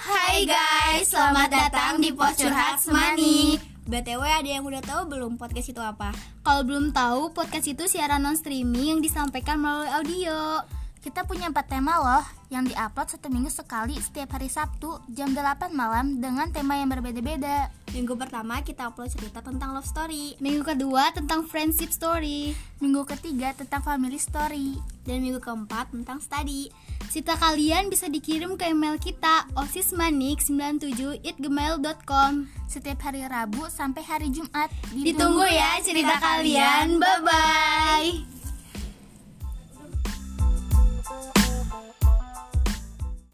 Hai guys, selamat datang di Pos Curhat Semani. BTW ada yang udah tahu belum podcast itu apa? Kalau belum tahu, podcast itu siaran non streaming yang disampaikan melalui audio. Kita punya empat tema loh yang diupload satu minggu sekali setiap hari Sabtu jam 8 malam dengan tema yang berbeda-beda. Minggu pertama kita upload cerita tentang love story Minggu kedua tentang friendship story. Minggu ketiga tentang family story. dan minggu keempat tentang study. Cerita kalian bisa dikirim ke email kita osismanik97@gmail.com. Setiap hari Rabu sampai hari Jumat. ya Ditunggu ya cerita kalian. Bye bye.